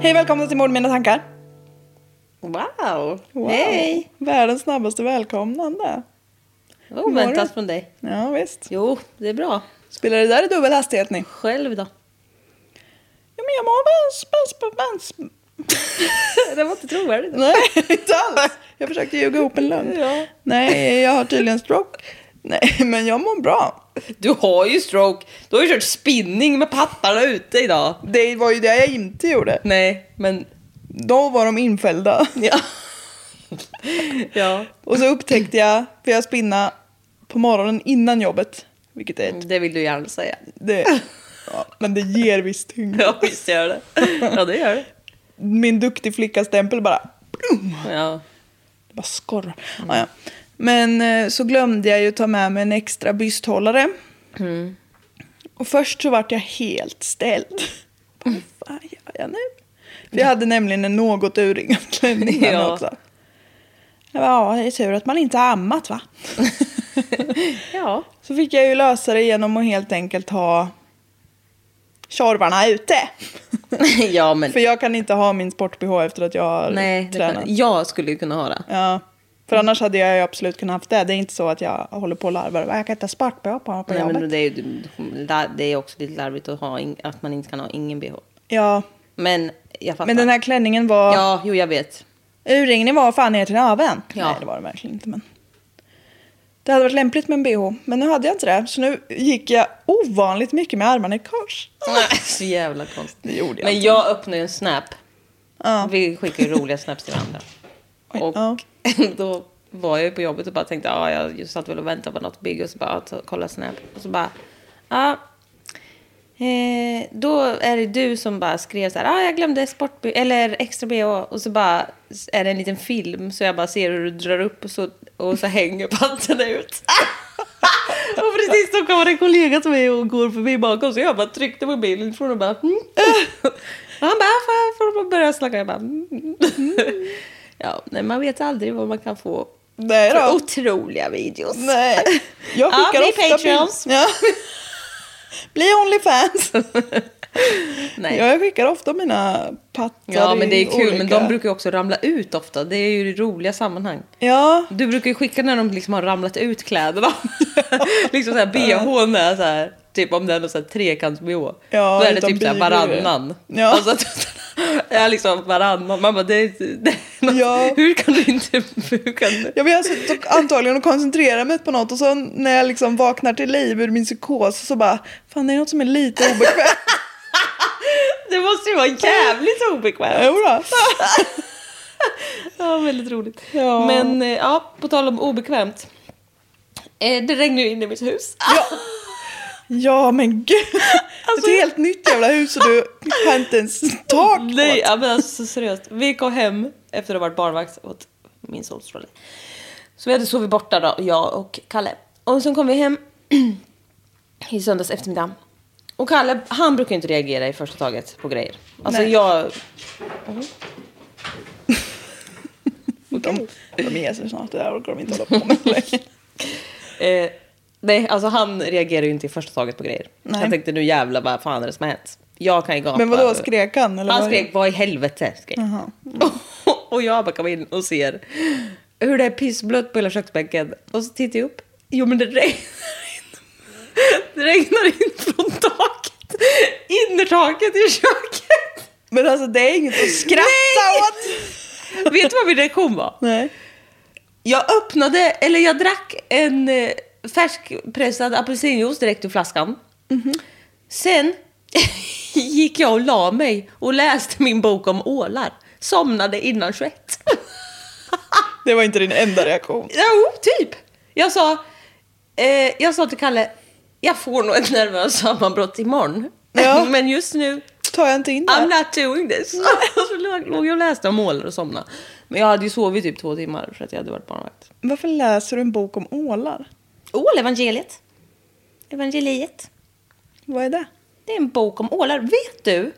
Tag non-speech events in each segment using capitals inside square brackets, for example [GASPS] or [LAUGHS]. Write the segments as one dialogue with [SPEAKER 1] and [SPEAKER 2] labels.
[SPEAKER 1] Hej välkomna till Mord i mina tankar.
[SPEAKER 2] Wow!
[SPEAKER 1] Wow.
[SPEAKER 2] Hej! Oh,
[SPEAKER 1] Världens snabbaste välkomnande.
[SPEAKER 2] Oväntat från dig.
[SPEAKER 1] Ja visst.
[SPEAKER 2] Jo, det är bra.
[SPEAKER 1] Spelar det där i dubbel hastighet ni?
[SPEAKER 2] Själv då?
[SPEAKER 1] Ja men jag mår bans, bans, bans.
[SPEAKER 2] [LAUGHS] det var inte trovärdigt.
[SPEAKER 1] Nej, [LAUGHS] inte alls. Jag försökte ljuga ihop en lögn.
[SPEAKER 2] Ja.
[SPEAKER 1] Nej, jag har tydligen stroke. Nej, men jag mår bra.
[SPEAKER 2] Du har ju stroke. Du har ju kört spinning med pattarna ute idag.
[SPEAKER 1] Det var ju det jag inte gjorde.
[SPEAKER 2] Nej, men...
[SPEAKER 1] Då var de infällda.
[SPEAKER 2] [LAUGHS] Ja. ja.
[SPEAKER 1] Och så upptäckte jag, för jag spinna på morgonen innan jobbet. Vilket är ett...
[SPEAKER 2] Det vill du gärna säga.
[SPEAKER 1] Det, ja, men det ger viss tyngd.
[SPEAKER 2] [LAUGHS] Ja, visst gör det. [LAUGHS] Ja, det gör det.
[SPEAKER 1] Min duktig flicka-stämpel bara
[SPEAKER 2] Ja.
[SPEAKER 1] Det bara skorrar.
[SPEAKER 2] Mm.
[SPEAKER 1] Ja, ja. Men eh, så glömde jag ju ta med mig en extra bysthållare.
[SPEAKER 2] Mm.
[SPEAKER 1] Och först så vart jag helt ställd. [LAUGHS]
[SPEAKER 2] Mm.
[SPEAKER 1] Vad fan gör jag nu? För jag hade nämligen en något urringad klänning med mig
[SPEAKER 2] Ja.
[SPEAKER 1] också. Jag bara, ja, det är tur att man inte har ammat va?
[SPEAKER 2] [LAUGHS] Ja.
[SPEAKER 1] Så fick jag ju lösa det genom att helt enkelt ha tjorvarna ute.
[SPEAKER 2] [LAUGHS] ja, men...
[SPEAKER 1] För jag kan inte ha min sport-bh efter att jag har
[SPEAKER 2] Nej, det
[SPEAKER 1] tränat.
[SPEAKER 2] kan... jag skulle ju kunna ha det.
[SPEAKER 1] Ja. För annars hade jag ju absolut kunnat haft det. Det är inte så att jag håller på och larvar. Jag kan inte ha sport-bh på mig på
[SPEAKER 2] Nej,
[SPEAKER 1] jobbet.
[SPEAKER 2] men det är ju det är också lite larvigt att, ha in... att man inte kan ha ingen bh.
[SPEAKER 1] Ja.
[SPEAKER 2] Men jag fattar.
[SPEAKER 1] Men den här klänningen var...
[SPEAKER 2] Ja, jo, jag vet.
[SPEAKER 1] Urringningen var fan ner till naveln.
[SPEAKER 2] Ja.
[SPEAKER 1] Nej, det var den verkligen inte. Men... Det hade varit lämpligt med en bh. Men nu hade jag inte det. Så nu gick jag ovanligt mycket med armarna i kors.
[SPEAKER 2] Nej, så jävla konstigt.
[SPEAKER 1] Det gjorde jag
[SPEAKER 2] Men
[SPEAKER 1] inte.
[SPEAKER 2] jag öppnade ju en snap.
[SPEAKER 1] Ja.
[SPEAKER 2] Vi skickar ju roliga snaps till varandra.
[SPEAKER 1] Oj,
[SPEAKER 2] Och
[SPEAKER 1] ja.
[SPEAKER 2] [LAUGHS] då var jag ju på jobbet och bara tänkte, ja, jag just satt väl och väntade på något bygg och så bara, ja, kolla snap. Och så bara, ja. Eh, då är det du som bara skrev så här, ah, jag glömde sport eller extra bh och så bara är det en liten film så jag bara ser hur du drar upp och så, och så [LAUGHS] hänger panten ut. och precis då kommer en kollega till mig och går förbi bakom så jag bara tryckte på bilen från och bara mm. och han bara, "Ah, fan, får man börja snacka? Jag bara mm. Ja, nej, man vet aldrig vad man kan få.
[SPEAKER 1] Nej
[SPEAKER 2] för
[SPEAKER 1] då.
[SPEAKER 2] Otroliga videos.
[SPEAKER 1] Nej. Jag
[SPEAKER 2] [LAUGHS] Ja,
[SPEAKER 1] skickar
[SPEAKER 2] bli
[SPEAKER 1] ofta
[SPEAKER 2] Patreons.
[SPEAKER 1] bild- Ja. Bli Onlyfans.
[SPEAKER 2] Nej.
[SPEAKER 1] Ja, jag skickar ofta mina pattar
[SPEAKER 2] Ja, men det är
[SPEAKER 1] i
[SPEAKER 2] kul. Men
[SPEAKER 1] olika-
[SPEAKER 2] de brukar ju också ramla ut ofta. Det är ju i roliga sammanhang.
[SPEAKER 1] Ja,
[SPEAKER 2] Du brukar ju skicka när de liksom har ramlat ut kläderna. [LAUGHS] liksom såhär bhn är såhär, typ om det är någon såhär trekants-bh.
[SPEAKER 1] Ja,
[SPEAKER 2] då är det
[SPEAKER 1] utan
[SPEAKER 2] typ såhär
[SPEAKER 1] bygel.
[SPEAKER 2] varannan.
[SPEAKER 1] Ja.
[SPEAKER 2] Alltså, [LAUGHS] att- ja, liksom varannan. Man bara, det, är- det är något,
[SPEAKER 1] Ja.
[SPEAKER 2] hur kan du inte... Hur kan du?
[SPEAKER 1] Jag vill alltså dock antagligen att koncentrera mig på något och så när jag liksom vaknar till liv ur min psykos så bara fan det är något som är lite
[SPEAKER 2] [LAUGHS]
[SPEAKER 1] obekvämt.
[SPEAKER 2] Det måste ju vara jävligt obekvämt.
[SPEAKER 1] Jodå.
[SPEAKER 2] [LAUGHS] Ja, väldigt roligt.
[SPEAKER 1] Ja.
[SPEAKER 2] Men eh, ja, på tal om obekvämt. Eh, Det regnar ju in i mitt hus.
[SPEAKER 1] Ja men gud.
[SPEAKER 2] Alltså-
[SPEAKER 1] Ett helt nytt jävla hus och du har inte ens tak på. [LAUGHS]
[SPEAKER 2] Nej, ja, men alltså seriöst. Vi kom hem efter att ha varit barnvakt åt min sons förälder. Så vi hade sovit borta då, jag och Kalle. Och så kom vi hem [CLEARS THROAT] i söndags eftermiddag. Och Kalle, han brukar ju inte reagera i första taget på grejer. Alltså
[SPEAKER 1] Nej.
[SPEAKER 2] jag...
[SPEAKER 1] De, de ger sig snart, det där orkar de inte hålla på med längre.
[SPEAKER 2] [LAUGHS] Eh, nej, alltså han reagerar ju inte i första taget på grejer.
[SPEAKER 1] Nej.
[SPEAKER 2] Jag tänkte nu jävlar vad fan är det som har hänt? Jag kan ju gapa.
[SPEAKER 1] Men vadå,
[SPEAKER 2] över-
[SPEAKER 1] skrek han? Eller
[SPEAKER 2] Han
[SPEAKER 1] vad?
[SPEAKER 2] skrek vad i helvete skrek. [LAUGHS] och jag bara kom in och ser hur det är pissblött på hela köksbänken. Och så tittar jag upp. Jo men det regnar in. Det regnar in från taket. Innertaket i köket.
[SPEAKER 1] Men alltså det är inget att skratta åt!
[SPEAKER 2] Vet du vad min reaktion var?
[SPEAKER 1] Nej.
[SPEAKER 2] Jag öppnade, eller jag drack en eh, färskpressad apelsinjuice direkt ur flaskan. Sen [LAUGHS] gick jag och la mig och läste min bok om ålar. Somnade innan 21.
[SPEAKER 1] Det var inte din enda reaktion.
[SPEAKER 2] Jo, typ. Jag sa, eh, jag sa till Kalle, jag får nog ett nervöst sammanbrott imorgon.
[SPEAKER 1] Ja.
[SPEAKER 2] [LAUGHS] Men just nu,
[SPEAKER 1] Tar jag inte in
[SPEAKER 2] I'm
[SPEAKER 1] det?
[SPEAKER 2] not doing this. Och [LAUGHS] så låg- låg jag och läste om ålar och somnade. Men jag hade ju sovit typ två timmar för att jag hade varit barnvakt.
[SPEAKER 1] Varför läser du en bok om ålar?
[SPEAKER 2] Ål, evangeliet. Evangeliet.
[SPEAKER 1] Vad är det?
[SPEAKER 2] Det är en bok om ålar. Vet du?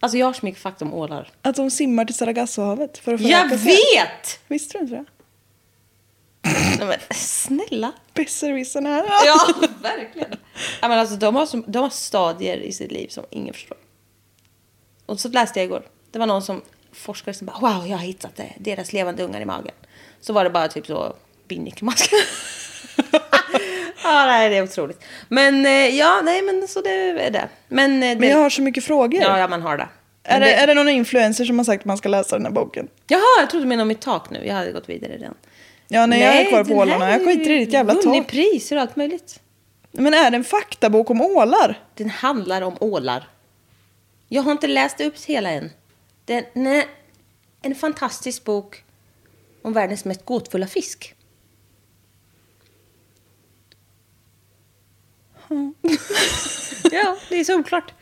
[SPEAKER 2] Alltså jag har så mycket fakta om ålar.
[SPEAKER 1] Att de simmar till Sargassohavet för att få
[SPEAKER 2] Jag
[SPEAKER 1] röka te.
[SPEAKER 2] vet!
[SPEAKER 1] Visste du inte det?
[SPEAKER 2] Nej, men snälla.
[SPEAKER 1] Besserwissern här.
[SPEAKER 2] Ja, [LAUGHS] verkligen. Ja, men alltså, de, har som, de har stadier i sitt liv som ingen förstår. Och så läste jag igår. Det var någon som forskade som bara wow, jag har hittat det. Deras levande ungar i magen. Så var det bara typ så binnikmask. [LAUGHS] ja, nej, det är otroligt. Men eh, ja, nej, men så det är det. Men, eh, det,
[SPEAKER 1] Men jag har så mycket frågor.
[SPEAKER 2] Ja, ja, man har det.
[SPEAKER 1] är,
[SPEAKER 2] Men
[SPEAKER 1] det,
[SPEAKER 2] det-
[SPEAKER 1] är det någon influencer som har sagt att man ska läsa den här boken?
[SPEAKER 2] Jaha, jag trodde du menade om mitt tak nu. Jag hade gått vidare redan.
[SPEAKER 1] Ja, nej, jag är kvar på
[SPEAKER 2] den här
[SPEAKER 1] ålarna. Jag
[SPEAKER 2] har
[SPEAKER 1] skiter i
[SPEAKER 2] ju
[SPEAKER 1] ditt jävla
[SPEAKER 2] Vunnit
[SPEAKER 1] tak.
[SPEAKER 2] priser och allt möjligt.
[SPEAKER 1] Men är det en faktabok om ålar?
[SPEAKER 2] Den handlar om ålar. Jag har inte läst upp hela än. Den är en fantastisk bok om världens mest gåtfulla fisk.
[SPEAKER 1] [LAUGHS]
[SPEAKER 2] ja, det är solklart.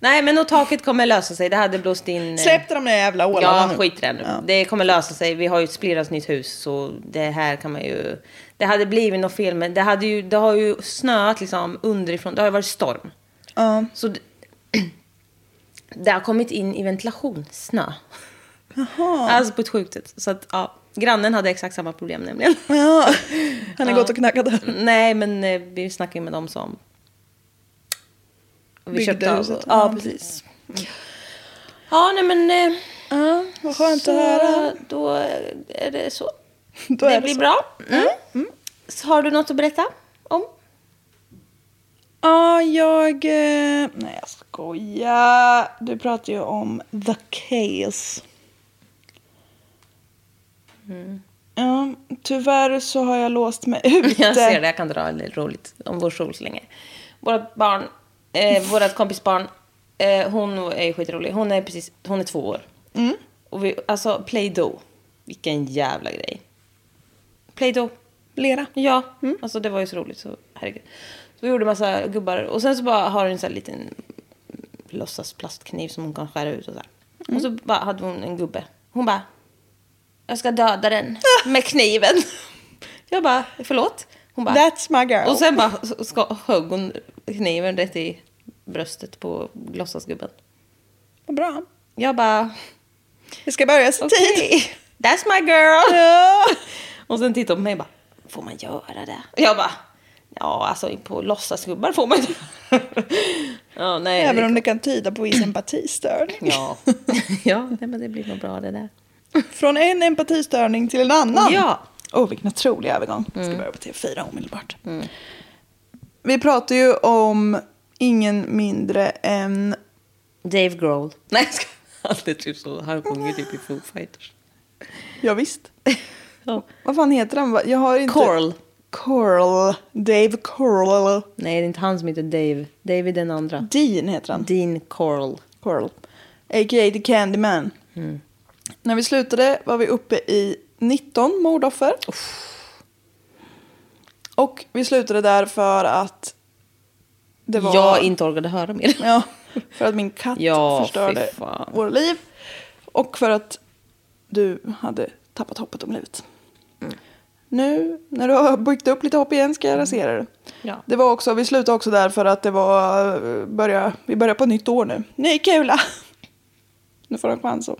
[SPEAKER 2] Nej, men och taket kommer lösa sig. Det hade blåst in... eh,
[SPEAKER 1] Släppte de där jävla ålarna
[SPEAKER 2] Ja,
[SPEAKER 1] nu?
[SPEAKER 2] skit i det nu.
[SPEAKER 1] Ja.
[SPEAKER 2] Det kommer lösa sig. Vi har ju ett splirrans nytt hus, så det här kan man ju... Det hade blivit något fel, men det, hade ju, det har ju snöat liksom underifrån. Det har ju varit storm.
[SPEAKER 1] Ja.
[SPEAKER 2] Så det, [CLEARS THROAT] det har kommit in i ventilation, snö. Alltså på ett sjukt sätt. Så att, ja, grannen hade exakt samma problem nämligen. [LAUGHS]
[SPEAKER 1] ja. Han har gått och knackat dörr.
[SPEAKER 2] Nej, men eh, vi snackade ju med dem som... Och vi
[SPEAKER 1] Byggde
[SPEAKER 2] köpte av.
[SPEAKER 1] huset.
[SPEAKER 2] Ja, precis. Mm. Ja, nej men... eh,
[SPEAKER 1] Ja, vad skönt
[SPEAKER 2] så
[SPEAKER 1] att höra.
[SPEAKER 2] Då är det så.
[SPEAKER 1] Då är
[SPEAKER 2] det
[SPEAKER 1] det
[SPEAKER 2] blir
[SPEAKER 1] så.
[SPEAKER 2] bra. Mm. Så har du något att berätta om?
[SPEAKER 1] Ja, jag... eh, Nej, jag skojar. Du pratar ju om the case. Ja, tyvärr så har jag låst mig ute.
[SPEAKER 2] Mm. [LAUGHS] Jag ser det, jag kan dra lite roligt om vår solslänge. Vårt barn, eh, vårat kompisbarn, eh, hon är ju skitrolig. Hon är precis, hon är två år. Mm. Och vi, alltså Play-Doh, vilken jävla grej. Play-Doh.
[SPEAKER 1] Lera.
[SPEAKER 2] Ja, alltså det var ju så roligt så herregud. Så vi gjorde massa gubbar och sen så bara har hon en sån här liten låtsas plastkniv som hon kan skära ut och så här.
[SPEAKER 1] Mm.
[SPEAKER 2] Och så bara hade hon en gubbe. Hon bara, jag ska döda den med kniven. [LAUGHS] Jag bara, förlåt? Hon bara,
[SPEAKER 1] That's my girl.
[SPEAKER 2] och sen bara så ska, högg hon kniven rätt i bröstet på låtsasgubben.
[SPEAKER 1] Vad bra.
[SPEAKER 2] Jag bara,
[SPEAKER 1] Vi ska börja så
[SPEAKER 2] okej,
[SPEAKER 1] tidigt.
[SPEAKER 2] [LAUGHS] that's my girl.
[SPEAKER 1] Ja.
[SPEAKER 2] [LAUGHS] Och sen tittade hon på mig och bara, får man göra det? Och jag bara, ja alltså på låtsasgubbar får man inte. [LAUGHS] ja, nej.
[SPEAKER 1] Även om
[SPEAKER 2] det...
[SPEAKER 1] det kan tyda på viss empatistörning.
[SPEAKER 2] Ja, ja nej, men det blir nog bra det där.
[SPEAKER 1] Från en empatistörning till en annan.
[SPEAKER 2] Ja. Mm.
[SPEAKER 1] Åh, vilken otrolig övergång. Jag ska börja på TV4 omedelbart. Vi pratar ju om ingen mindre än...
[SPEAKER 2] Dave Grohl. [LAUGHS] Nej, jag ska... Han är typ så, han sjunger typ i Foo Fighters.
[SPEAKER 1] Ja, visst. [LAUGHS]
[SPEAKER 2] Ja.
[SPEAKER 1] Vad fan heter han? Jag har inte...
[SPEAKER 2] Corll.
[SPEAKER 1] Corll. Dave Corll.
[SPEAKER 2] Nej, det är inte han som heter Dave. Dave är den andra.
[SPEAKER 1] Dean heter han.
[SPEAKER 2] Dean Corll.
[SPEAKER 1] Corll. A.k.a. The Candyman.
[SPEAKER 2] Mm.
[SPEAKER 1] När vi slutade var vi uppe i 19 mordoffer. Och vi slutade där för att det var...
[SPEAKER 2] Jag inte orkade höra mer.
[SPEAKER 1] [LAUGHS] Ja, för att min katt
[SPEAKER 2] Ja,
[SPEAKER 1] förstörde
[SPEAKER 2] fy fan.
[SPEAKER 1] våra liv.
[SPEAKER 2] Mm.
[SPEAKER 1] Och för att du hade tappat hoppet om livet. nu när du har byggt upp lite hopp igen ska jag rasera det.
[SPEAKER 2] Ja.
[SPEAKER 1] Det var också, vi slutade också där för att det var, eh, börja, vi börjar på nytt år nu. Ny kula! [LAUGHS] Nu får du en chans att...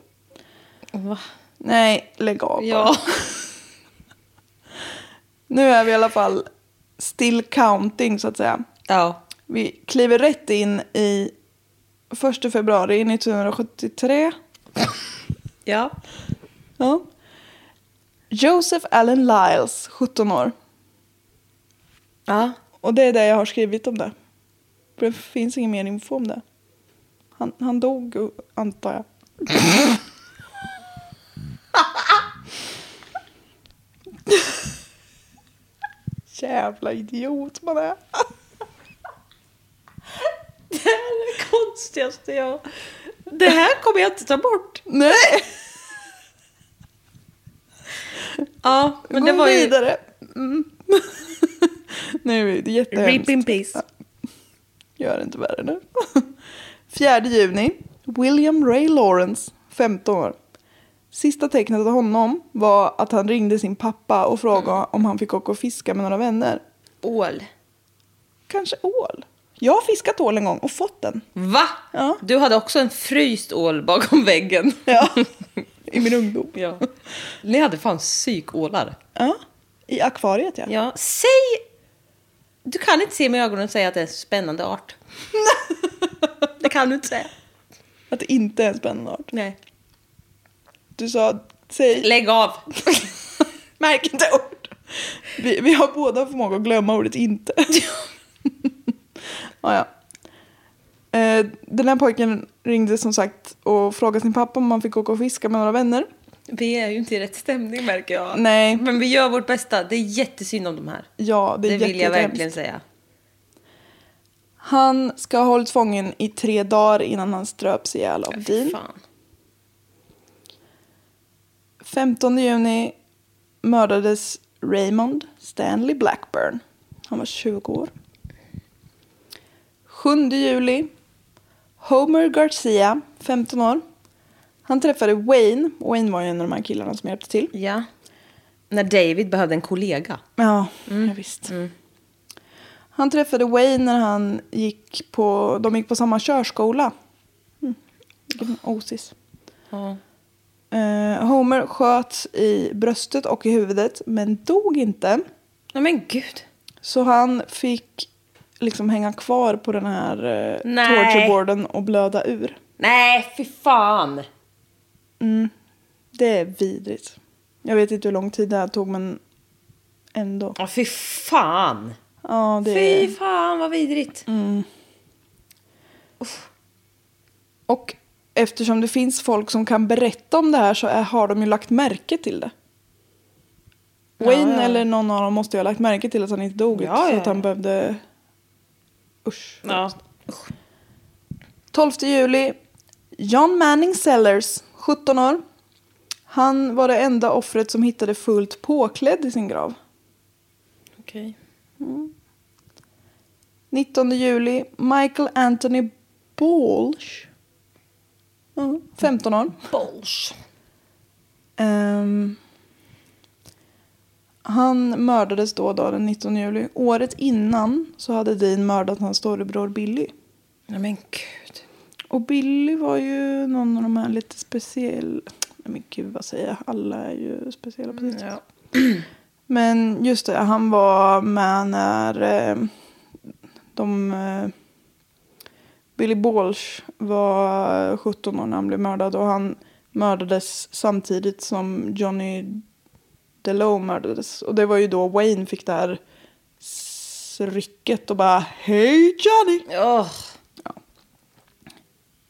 [SPEAKER 2] Va?
[SPEAKER 1] Nej, lägg av bara.
[SPEAKER 2] Ja.
[SPEAKER 1] [LAUGHS] Nu är vi i alla fall still counting så att säga.
[SPEAKER 2] ja.
[SPEAKER 1] Vi kliver rätt in i 1 februari 1973.
[SPEAKER 2] Ja.
[SPEAKER 1] Ja. Joseph Allen Lyles, 17 år.
[SPEAKER 2] Ja.
[SPEAKER 1] Och det är det jag har skrivit om det. För Det finns ingen mer info om det. Han, han dog, antar jag. [LAUGHS] Jävla idiot man är.
[SPEAKER 2] Det här är det konstigaste jag... Det här kommer jag inte ta bort. [LAUGHS]
[SPEAKER 1] Nej!
[SPEAKER 2] Ja, men
[SPEAKER 1] Gå
[SPEAKER 2] det var ju...
[SPEAKER 1] vidare. Mm. [LAUGHS] nu är det jättehemskt.
[SPEAKER 2] Rip in peace.
[SPEAKER 1] Gör inte värre nu. [LAUGHS] 4 juni. William Ray Lawrence, 15 år. Sista tecknet av honom var att han ringde sin pappa och frågade om han fick åka och fiska med några vänner.
[SPEAKER 2] Ål.
[SPEAKER 1] Kanske ål? Jag har fiskat ål en gång och fått den.
[SPEAKER 2] Va?
[SPEAKER 1] Ja.
[SPEAKER 2] Du hade också en fryst ål bakom väggen.
[SPEAKER 1] Ja, i min ungdom.
[SPEAKER 2] [LAUGHS] ja. Ni hade fan psykålar.
[SPEAKER 1] Ja, i akvariet ja.
[SPEAKER 2] Ja, säg... Du kan inte se med ögonen och säga att det är en spännande art. [LAUGHS] det kan du inte säga.
[SPEAKER 1] Att det inte är en spännande art.
[SPEAKER 2] Nej.
[SPEAKER 1] Du sa, säg,
[SPEAKER 2] Lägg av. [LAUGHS]
[SPEAKER 1] märk inte ord. Vi, vi har båda förmåga att glömma ordet inte.
[SPEAKER 2] [LAUGHS]
[SPEAKER 1] ja, ja. Eh, Den här pojken ringde som sagt och frågade sin pappa om han fick åka och fiska med några vänner.
[SPEAKER 2] Vi är ju inte i rätt stämning märker jag.
[SPEAKER 1] Nej.
[SPEAKER 2] Men vi gör vårt bästa. Det är jättesynd om de här.
[SPEAKER 1] Ja, det
[SPEAKER 2] Det
[SPEAKER 1] är
[SPEAKER 2] vill jag
[SPEAKER 1] jättehemskt.
[SPEAKER 2] verkligen säga.
[SPEAKER 1] Han ska ha hållits fången i tre dagar innan han ströps ihjäl av
[SPEAKER 2] Fy
[SPEAKER 1] Dean.
[SPEAKER 2] Fan.
[SPEAKER 1] 15 juni mördades Raymond Stanley Blackburn. Han var 20 år. 7 juli. Homer Garcia, 15 år. Han träffade Wayne. Wayne var ju en av de här killarna som hjälpte till.
[SPEAKER 2] Ja. När David behövde en kollega.
[SPEAKER 1] Ja, ja visst. Han träffade Wayne när han gick på, de gick på samma körskola. Mm. Vilken osis.
[SPEAKER 2] Ja.
[SPEAKER 1] Eh, Homer sköts i bröstet och i huvudet men dog inte.
[SPEAKER 2] Nej men gud.
[SPEAKER 1] Så han fick liksom hänga kvar på den här eh,
[SPEAKER 2] Nej.
[SPEAKER 1] tortureboarden och blöda ur.
[SPEAKER 2] Nej, fy fan.
[SPEAKER 1] Det är vidrigt. Jag vet inte hur lång tid det här tog men ändå.
[SPEAKER 2] Ja, fy fan.
[SPEAKER 1] Ja, det
[SPEAKER 2] Fy
[SPEAKER 1] är...
[SPEAKER 2] fan vad vidrigt.
[SPEAKER 1] Och eftersom det finns folk som kan berätta om det här så är, har de ju lagt märke till det. Wayne eller någon av dem måste ju ha lagt märke till att han inte dog.
[SPEAKER 2] Ja,
[SPEAKER 1] så
[SPEAKER 2] ja,
[SPEAKER 1] att han behövde... Usch.
[SPEAKER 2] Ja.
[SPEAKER 1] 12 juli. John Manning Sellers, 17 år. Han var det enda offret som hittade fullt påklädd i sin grav.
[SPEAKER 2] Okej.
[SPEAKER 1] 19 juli. Michael Anthony Balsh. Ja, 15 år.
[SPEAKER 2] Bolsch.
[SPEAKER 1] Ehm, han mördades då, och då den 19 juli. Året innan så hade Dean mördat hans storebror Billy.
[SPEAKER 2] Nej men gud.
[SPEAKER 1] Och Billy var ju någon av de här lite speciella... Nej men gud vad säger jag? Alla är ju speciella på
[SPEAKER 2] Mm,
[SPEAKER 1] sitt sätt. Men just det, han var med när eh, de... Eh, Billy Balch var 17 år när han blev mördad och han mördades samtidigt som Johnny DeLow mördades. Och det var ju då Wayne fick det här s- rycket och bara Hej Johnny!
[SPEAKER 2] Åh,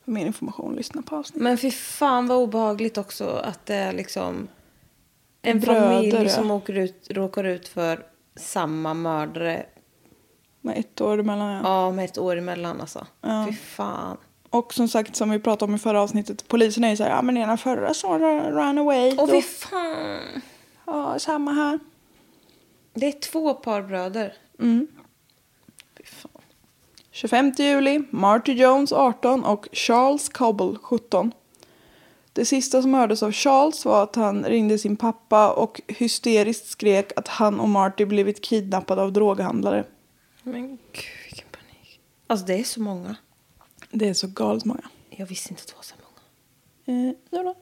[SPEAKER 1] För mer information, lyssna på avsnittet.
[SPEAKER 2] men fy fan vad obehagligt också att det är liksom en
[SPEAKER 1] Bröder,
[SPEAKER 2] familj
[SPEAKER 1] ja.
[SPEAKER 2] som åker ut, råkar ut för samma mördare.
[SPEAKER 1] Med ett år emellan. ja.
[SPEAKER 2] Ja, med ett år emellan alltså.
[SPEAKER 1] Ja.
[SPEAKER 2] Fy fan.
[SPEAKER 1] Och som sagt, som vi pratade om i förra avsnittet, polisen är ju så här, ja men ena förra så ran away.
[SPEAKER 2] Åh
[SPEAKER 1] då,
[SPEAKER 2] fy fan.
[SPEAKER 1] ja, samma här.
[SPEAKER 2] Det är två par bröder.
[SPEAKER 1] 25 juli, Marty Jones 18 och Charles Cobble 17. Det sista som hördes av Charles var att han ringde sin pappa och hysteriskt skrek att han och Marty blivit kidnappade av droghandlare.
[SPEAKER 2] Men gud vilken panik. Alltså det är så många.
[SPEAKER 1] Det är så galet många.
[SPEAKER 2] Jag visste inte att det var så många.
[SPEAKER 1] Eh, ja då.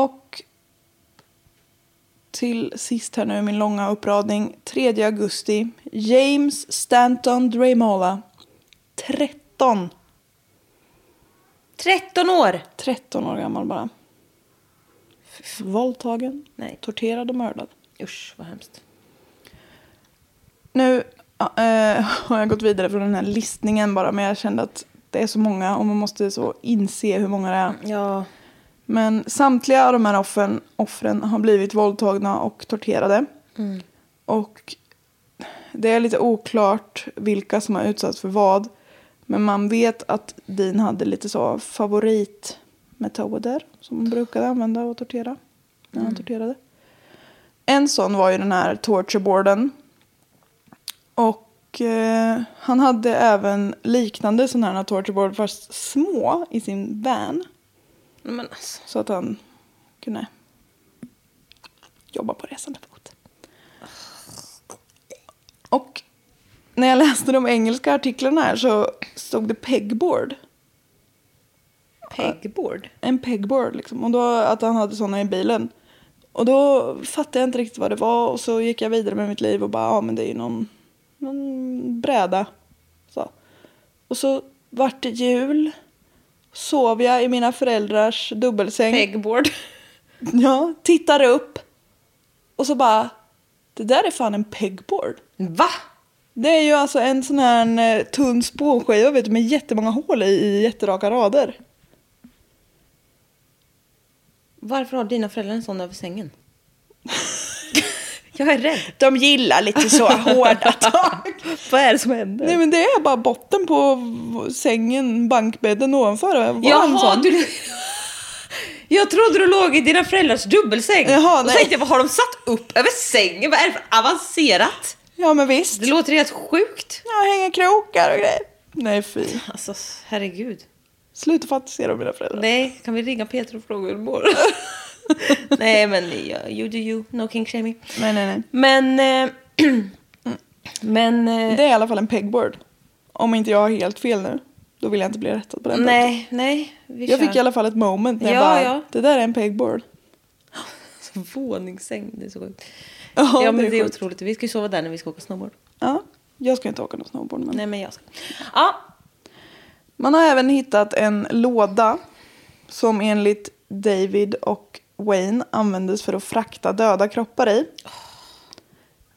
[SPEAKER 1] Och till sist här nu i min långa uppradning. 3 augusti. James Stanton Dremola. 13.
[SPEAKER 2] 13 år!
[SPEAKER 1] 13 år gammal bara. Våldtagen,
[SPEAKER 2] Nej.
[SPEAKER 1] torterad och mördad.
[SPEAKER 2] Usch vad hemskt.
[SPEAKER 1] Nu ja, eh, [LAUGHS] har jag gått vidare från den här listningen bara men jag kände att det är så många och man måste så inse hur många det är.
[SPEAKER 2] Ja.
[SPEAKER 1] Men samtliga av de här offren, offren har blivit våldtagna och torterade. Och det är lite oklart vilka som har utsatts för vad. Men man vet att Dean hade lite så favoritmetoder som hon brukade använda och tortera. När han torterade. En sån var ju den här tortureboarden. Och eh, han hade även liknande sådana här tortureboard fast små i sin van.
[SPEAKER 2] Men alltså.
[SPEAKER 1] Så att han kunde jobba på resande fot. Och när jag läste de engelska artiklarna här så stod det pegboard.
[SPEAKER 2] Pegboard.
[SPEAKER 1] En pegboard liksom. Och då att han hade sådana i bilen. Och då fattade jag inte riktigt vad det var och så gick jag vidare med mitt liv och bara ja men det är ju någon, någon bräda. Så. Och så vart det jul. Sov jag i mina föräldrars dubbelsäng.
[SPEAKER 2] Pegboard.
[SPEAKER 1] [LAUGHS] Ja, tittar upp. Och så bara, det där är fan en pegboard.
[SPEAKER 2] Va?
[SPEAKER 1] Det är ju alltså en sån här eh, tunn spånskiva vet du, med jättemånga hål i, i jätteraka rader.
[SPEAKER 2] Varför har dina föräldrar en sån över sängen? [LAUGHS] jag är rädd.
[SPEAKER 1] De gillar lite så hårda tag.
[SPEAKER 2] [LAUGHS] Vad är det som händer?
[SPEAKER 1] Nej men det är bara botten på v- sängen, bankbädden ovanför. Det Var en
[SPEAKER 2] Jaha,
[SPEAKER 1] sån.
[SPEAKER 2] du... Jag trodde du låg i dina föräldrars dubbelsäng.
[SPEAKER 1] Jaha,
[SPEAKER 2] och
[SPEAKER 1] nej.
[SPEAKER 2] tänkte jag, vad har de satt upp över sängen? Vad är det för avancerat?
[SPEAKER 1] Ja men visst.
[SPEAKER 2] Det låter helt sjukt.
[SPEAKER 1] Jag hänger krokar och grejer. Nej fy.
[SPEAKER 2] Alltså, herregud.
[SPEAKER 1] Sluta fantisera om mina föräldrar.
[SPEAKER 2] Nej, kan vi ringa Peter och fråga hur det mår? [LAUGHS] nej, [LAUGHS] men ja, you do you. No king shaming.
[SPEAKER 1] Nej nej nej.
[SPEAKER 2] Men... Eh, [CLEARS THROAT] men... Eh,
[SPEAKER 1] Det är i alla fall en pegboard. Om inte jag har helt fel nu. Då vill jag inte bli rättad på den punkten.
[SPEAKER 2] nej, nej. Vi
[SPEAKER 1] Jag
[SPEAKER 2] kör.
[SPEAKER 1] fick i alla fall ett moment när
[SPEAKER 2] Ja,
[SPEAKER 1] jag bara,
[SPEAKER 2] ja.
[SPEAKER 1] det där är en pegboard.
[SPEAKER 2] Våningssäng, det är så sjukt.
[SPEAKER 1] Ja,
[SPEAKER 2] Ja, men det är,
[SPEAKER 1] sjukt.
[SPEAKER 2] otroligt. Vi ska ju sova där när vi ska åka snowboard.
[SPEAKER 1] Ja, jag ska inte åka någon snowboard. Men...
[SPEAKER 2] Nej, men jag ska. Ja,
[SPEAKER 1] Man har även hittat en låda som enligt David och Wayne användes för att frakta döda kroppar i.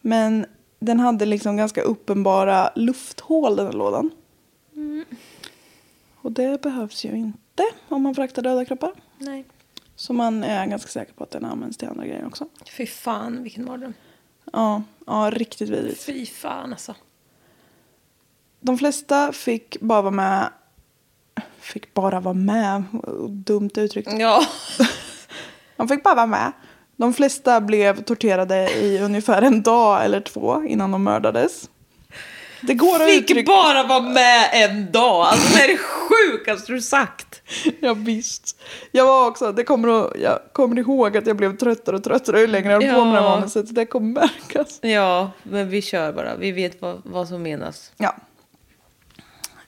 [SPEAKER 1] Men den hade liksom ganska uppenbara lufthål den här lådan. Och det behövs ju inte om man fraktar döda kroppar.
[SPEAKER 2] nej.
[SPEAKER 1] Så man är ganska säker på att den används till andra grejer också.
[SPEAKER 2] Fy fan, vilken mardröm.
[SPEAKER 1] Ja, ja riktigt vidrigt.
[SPEAKER 2] Fy fan alltså.
[SPEAKER 1] De flesta fick bara vara med. Fick bara vara med. Dumt uttryckt.
[SPEAKER 2] Ja.
[SPEAKER 1] De fick bara vara med. De flesta blev torterade i ungefär en dag eller två innan de mördades. Det går [LAUGHS] att
[SPEAKER 2] Fick
[SPEAKER 1] uttrycka...
[SPEAKER 2] bara vara med en dag. Alltså det är det sjukaste du sagt.
[SPEAKER 1] Ja, visst. Jag var också, det kommer att, jag kommer ihåg att jag blev tröttare och tröttare ju längre jag höll på med det här
[SPEAKER 2] Ja.
[SPEAKER 1] manuset. så Det kommer märkas.
[SPEAKER 2] Ja, men vi kör bara. Vi vet vad, vad som menas.
[SPEAKER 1] Ja.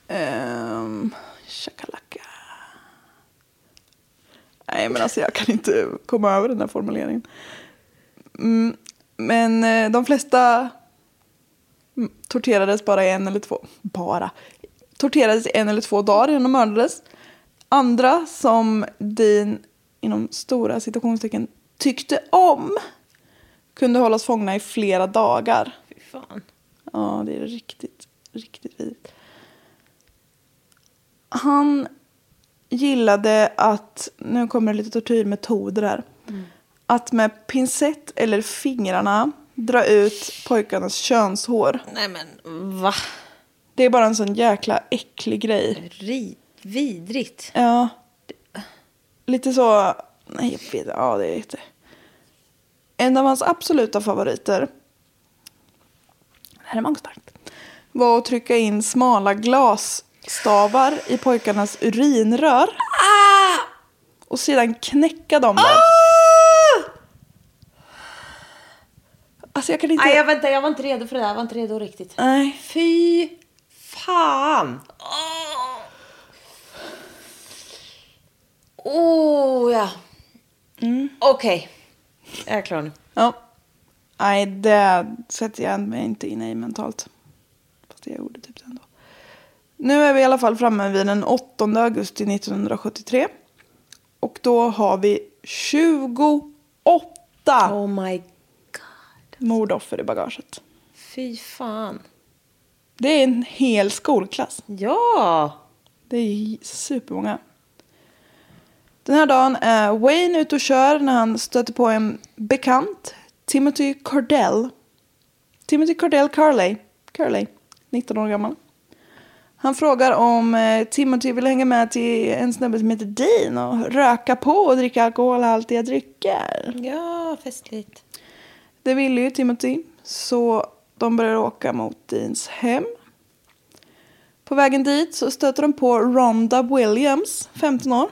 [SPEAKER 1] Um, shakalaka. Nej, men alltså jag kan inte komma över den här formuleringen. Mm, men eh, de flesta mm, torterades bara i en eller två... Bara? Torterades i en eller två dagar innan de mördades. Andra som Dean, inom stora citationstecken, tyckte om kunde hållas fångna i flera dagar.
[SPEAKER 2] Fy fan.
[SPEAKER 1] Ja, det är riktigt, riktigt vidrigt. Han gillade att, nu kommer det lite tortyrmetoder här, att med pincett eller fingrarna dra ut pojkarnas könshår.
[SPEAKER 2] Nej men va?
[SPEAKER 1] Det är bara en sån jäkla äcklig grej.
[SPEAKER 2] Ri- vidrigt.
[SPEAKER 1] Ja. Lite så, nej jag vet ja det är inte. En av hans absoluta favoriter det här är magstarkt. Var att trycka in
[SPEAKER 2] Ah!
[SPEAKER 1] smala glasstavar i pojkarnas urinrör. och sedan knäcka dem. där.
[SPEAKER 2] Ah!
[SPEAKER 1] Alltså jag kan inte...
[SPEAKER 2] Nej, jag, vänta, jag var inte redo för det där. Jag var inte redo riktigt.
[SPEAKER 1] Nej.
[SPEAKER 2] Fy fan! Oh, ja. Mm. Okej. Jag är klar nu.
[SPEAKER 1] Ja. Nej, det sätter jag mig inte in i mentalt. Fast jag gjorde typ det ändå. Nu är vi i alla fall framme vid den 8 augusti 1973. Och då har vi 28
[SPEAKER 2] Oh my god.
[SPEAKER 1] mordoffer i bagaget.
[SPEAKER 2] Fy fan.
[SPEAKER 1] Det är en hel skolklass.
[SPEAKER 2] Ja!
[SPEAKER 1] Det är supermånga. Den här dagen är Wayne ute och kör när han stöter på en bekant, Timothy Cordell. Timothy Cordell Carley, Carley 19 år gammal. Han frågar om eh, Timothy vill hänga med till en snubbe som heter Dean och röka på och dricka alkoholhaltiga drycker.
[SPEAKER 2] Ja, festligt.
[SPEAKER 1] Det ville ju Timothy, så de börjar åka mot Deans hem. På vägen dit så stöter de på Rhonda Williams, 15 år.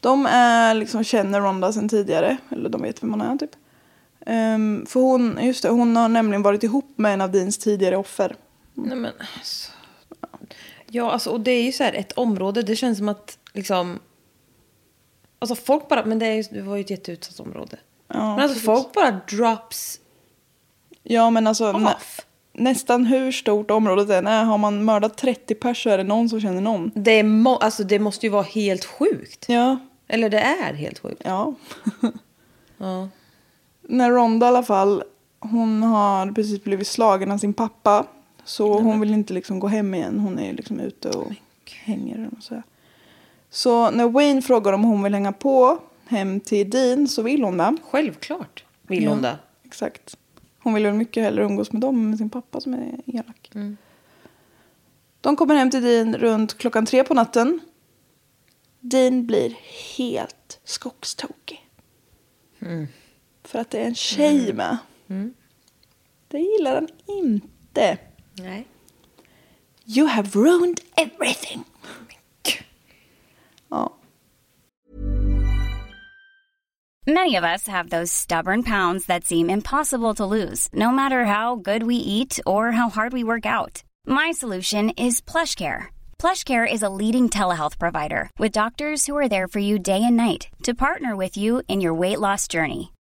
[SPEAKER 1] De är, liksom, känner Rhonda sedan tidigare, eller de vet vem hon är typ. Ehm, för hon, just det, hon har nämligen varit ihop med en av Deans tidigare offer.
[SPEAKER 2] Nej men alltså. Ja, alltså och det är ju så här ett område. Det känns som att liksom. Alltså folk bara, men det, är ju, det var ju ett jätteutsatt område. men alltså
[SPEAKER 1] precis.
[SPEAKER 2] folk bara drops
[SPEAKER 1] Ja men alltså nä,
[SPEAKER 2] off.
[SPEAKER 1] nästan hur stort området än är, har man mördat 30 pers så är det någon som känner någon.
[SPEAKER 2] Det, är må, alltså, det måste ju vara helt sjukt.
[SPEAKER 1] Ja,
[SPEAKER 2] Eller det är helt sjukt.
[SPEAKER 1] ja.
[SPEAKER 2] Ja.
[SPEAKER 1] när Ronda i alla fall, hon har precis blivit slagen av sin pappa. Så hon vill inte liksom gå hem igen. Hon är liksom ute och hänger. eller vad man säger. Så när Wayne frågar om hon vill hänga på hem till Dean så vill hon det.
[SPEAKER 2] Självklart vill hon det.
[SPEAKER 1] Exakt. Hon vill väl mycket hellre umgås med dem än med sin pappa som är elak. De kommer hem till Dean runt klockan tre på natten. Dean blir helt skogstokig. För att det är en tjej med. Det gillar han inte.
[SPEAKER 2] Nej.
[SPEAKER 1] You have ruined everything. Ja.
[SPEAKER 3] Many of us have those stubborn pounds that seem impossible to lose, no matter how good we eat or how hard we work out. My solution is PlushCare. PlushCare is a leading telehealth provider with doctors who are there for you day and night to partner with you in your weight loss journey.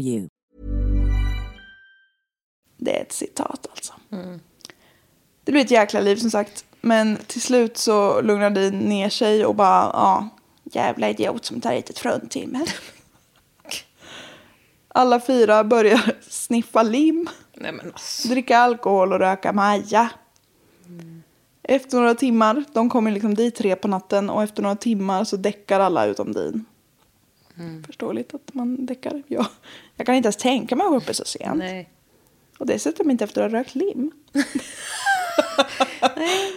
[SPEAKER 4] you.
[SPEAKER 1] Det är ett citat alltså. Det blir ett jäkla liv som sagt. Men till slut så lugnar Dean ner sig och bara ja, jävla idiot som tar hit ett fruntimmer. [LAUGHS] Alla fyra börjar sniffa lim,
[SPEAKER 2] Nej men alltså.
[SPEAKER 1] dricka alkohol och röka maja. Efter några timmar, de kommer liksom dit tre på natten och efter några timmar så däckar alla utom Dean. Förståeligt att man däckar. Jag, jag kan inte ens tänka mig att vara uppe så sent.
[SPEAKER 2] Nej.
[SPEAKER 1] Och dessutom inte efter att ha rökt lim.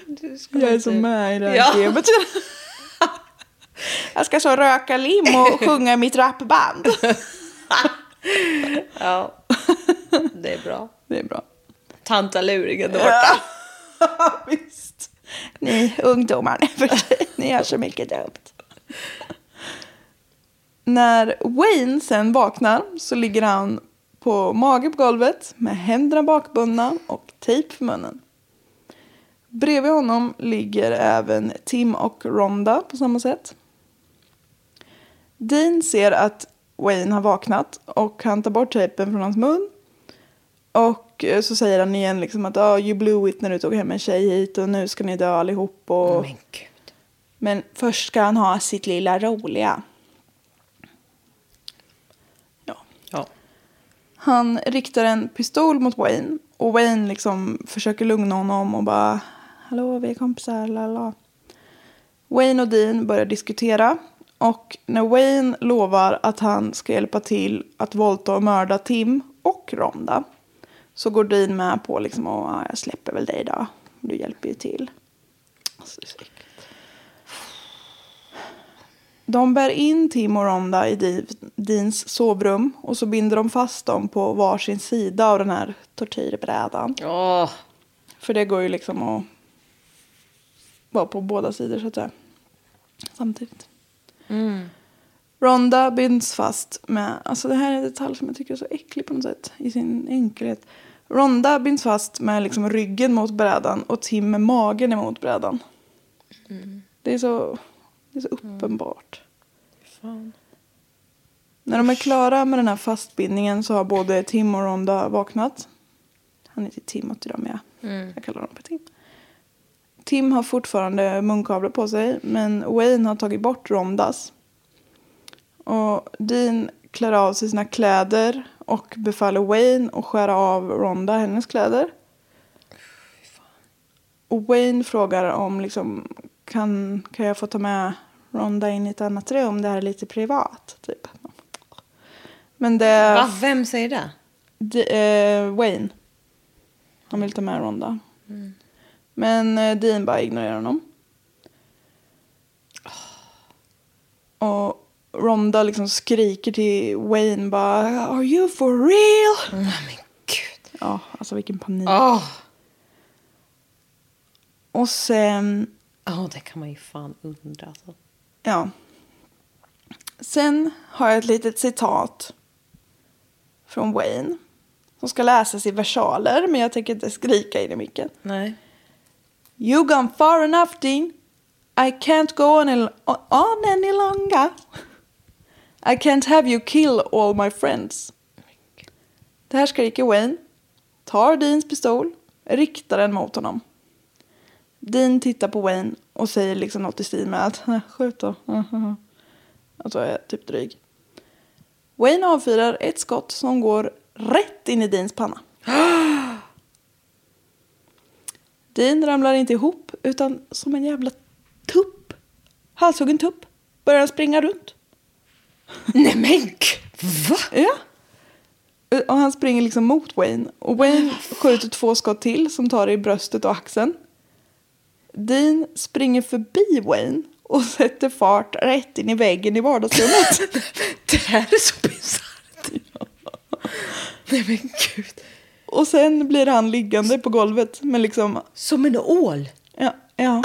[SPEAKER 2] Du ska
[SPEAKER 1] Jag är
[SPEAKER 2] inte-
[SPEAKER 1] så med i det här
[SPEAKER 2] Ja.
[SPEAKER 1] gamet. Jag ska så röka lim och sjunga i mitt [LAUGHS] rapband.
[SPEAKER 2] [LAUGHS] Ja. [LAUGHS] Det är bra.
[SPEAKER 1] Det är bra.
[SPEAKER 2] Tantaluringen där borta. [LAUGHS]
[SPEAKER 1] Visst. [LAUGHS] Ni ungdomar, ni är för- ni gör så mycket dumt. När Wayne sen vaknar så ligger han på mage på golvet med händerna bakbundna och tejp för munnen. Bredvid honom ligger även Tim och Rhonda på samma sätt. Dean ser att Wayne har vaknat och han tar bort tejpen från hans mun. Och eh, så säger han igen liksom att oh, you blew it när du tog hem en tjej hit och nu ska ni dö allihop. Och...
[SPEAKER 2] Men gud.
[SPEAKER 1] Men först ska han ha sitt lilla roliga. Ja.
[SPEAKER 2] Ja.
[SPEAKER 1] Han riktar en pistol mot Wayne och Wayne liksom försöker lugna honom och bara Hallå, vi är kompisar, lala. Wayne och Dean börjar diskutera och när Wayne lovar att han ska hjälpa till att våldta och mörda Tim och Rhonda så går Dean med på liksom att "Ah, jag släpper väl dig då, du hjälper ju till. Alltså, det är så äckligt. De bär in Tim och Rhonda i Div- Deans sovrum och så binder de fast dem på varsin sida av den här tortyrbrädan.
[SPEAKER 2] Åh.
[SPEAKER 1] För det går ju liksom att vara på båda sidor så att säga. Samtidigt. Rhonda binds fast med, alltså det här är en detalj som jag tycker är så äcklig på något sätt i sin enkelhet. Rhonda binds fast med liksom ryggen mot brädan och Tim med magen emot brädan. Det, är så, det är så uppenbart. När de är klara med den här fastbindningen så har både Tim och Rhonda vaknat. Han heter Timothy då med. Jag kallar honom för Tim. Tim har fortfarande munkavle på sig men Wayne har tagit bort Rondas. Och Dean klär av sig sina kläder och befaller Wayne att skära av Ronda hennes kläder. Och Wayne frågar om liksom, kan, kan jag få ta med Ronda in i ett annat rum, det här är lite privat. Typ. Men det...
[SPEAKER 2] Va? Vem säger det?
[SPEAKER 1] D- eh, Wayne. Han vill ta med Ronda. Men eh, Dean bara ignorerar honom. Och Ronda liksom skriker till Wayne bara Are you for real?
[SPEAKER 2] Nej men gud.
[SPEAKER 1] Ja, alltså vilken panik.
[SPEAKER 2] Åh.
[SPEAKER 1] Och sen
[SPEAKER 2] Åh, det kan man ju fan undra. Alltså.
[SPEAKER 1] Ja. Sen har jag ett litet citat från Wayne som ska läsas i versaler, men jag tänker inte skrika in i micken.
[SPEAKER 2] Nej.
[SPEAKER 1] You gone far enough, Dean. I can't go on, el- on any longer. I can't have you kill all my friends. Det här skriker Wayne, tar Deans pistol, riktar den mot honom. Dean tittar på Wayne och säger liksom något i stil med att skjut då. [LAUGHS] Alltså jag är typ dryg. Wayne avfyrar ett skott som går rätt in i Deans panna. Dean ramlar inte ihop utan som en jävla tupp, halshuggen tupp, börjar han springa runt.
[SPEAKER 2] Nej men gud. Va?
[SPEAKER 1] Ja. Och han springer liksom mot Wayne. Och
[SPEAKER 2] Ah,
[SPEAKER 1] Wayne skjuter två skott till som tar i bröstet och axeln. Dean springer förbi Wayne och sätter fart rätt in i väggen i vardagsrummet.
[SPEAKER 2] [LAUGHS] Det här är så [LAUGHS] bisarrt. Nej men gud.
[SPEAKER 1] och sen blir han liggande på golvet med liksom,
[SPEAKER 2] Som en ål.
[SPEAKER 1] ja, ja.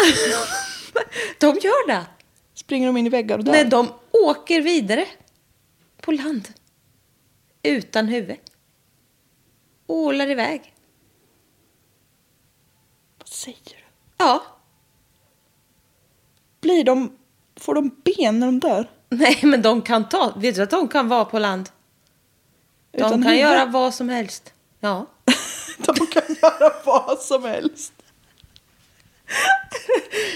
[SPEAKER 2] De gör det.
[SPEAKER 1] Springer de in i väggar och dör.
[SPEAKER 2] Nej, de åker vidare. På land. Utan huvud. Ålar iväg.
[SPEAKER 1] Vad säger du?
[SPEAKER 2] Ja.
[SPEAKER 1] Blir de, får de ben när de dör?
[SPEAKER 2] Nej, men de kan ta... Vet du att de kan vara på land? De
[SPEAKER 1] Utan
[SPEAKER 2] kan
[SPEAKER 1] huvud?
[SPEAKER 2] göra vad som helst. Ja.
[SPEAKER 1] [LAUGHS] De kan göra vad som helst.